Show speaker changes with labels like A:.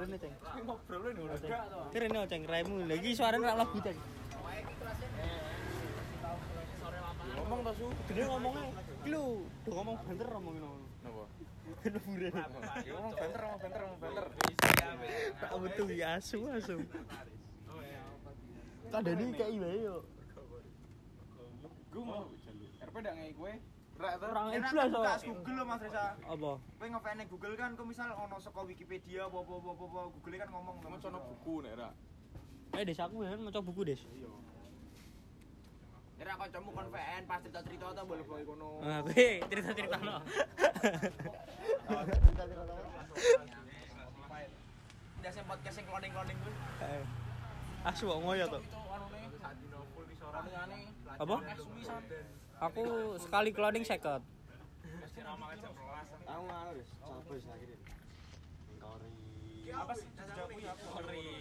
A: Rene ceng.
B: ngobrolin dulu
A: Ceng. Ki Rene ceng raimu. Lagi suaranya rak lagu ceng.
B: ngomong toh su
A: Gede ngomongnya. Lu do ngomong banter ngomongin ngono.
B: nopo
A: Kena bure.
B: Ya, ngomong banter ngomong banter ngomong banter
A: Tak butuh ya asu asu. Kadane kayak iwe yo.
B: gue mau RP udah ngei gue
C: Rek tuh.
A: Orang
C: Enak
A: iblas,
C: kan
A: Pak.
C: tas Google lo Mas Reza.
A: Apa?
C: Kowe ngefans Google kan kok misal ono saka Wikipedia apa apa apa apa Google kan ngomong
B: kamu cono buku nek ra
A: Eh des aku ya maca buku des.
C: Ora kancamu kon VN pas cerita-cerita ta boleh boy kono.
A: Ah, kowe cerita-cerita no.
C: Biasa podcast sing cloning-cloning kuwi.
A: Asu kok Eh, ngoyo to.
C: anune sak dino full wis ora ngene.
A: Apa?
C: Suwi sam.
A: Aku sekali cloning seket.
B: aku ngono wis capek sakit
C: Apa sih jejak kuwi?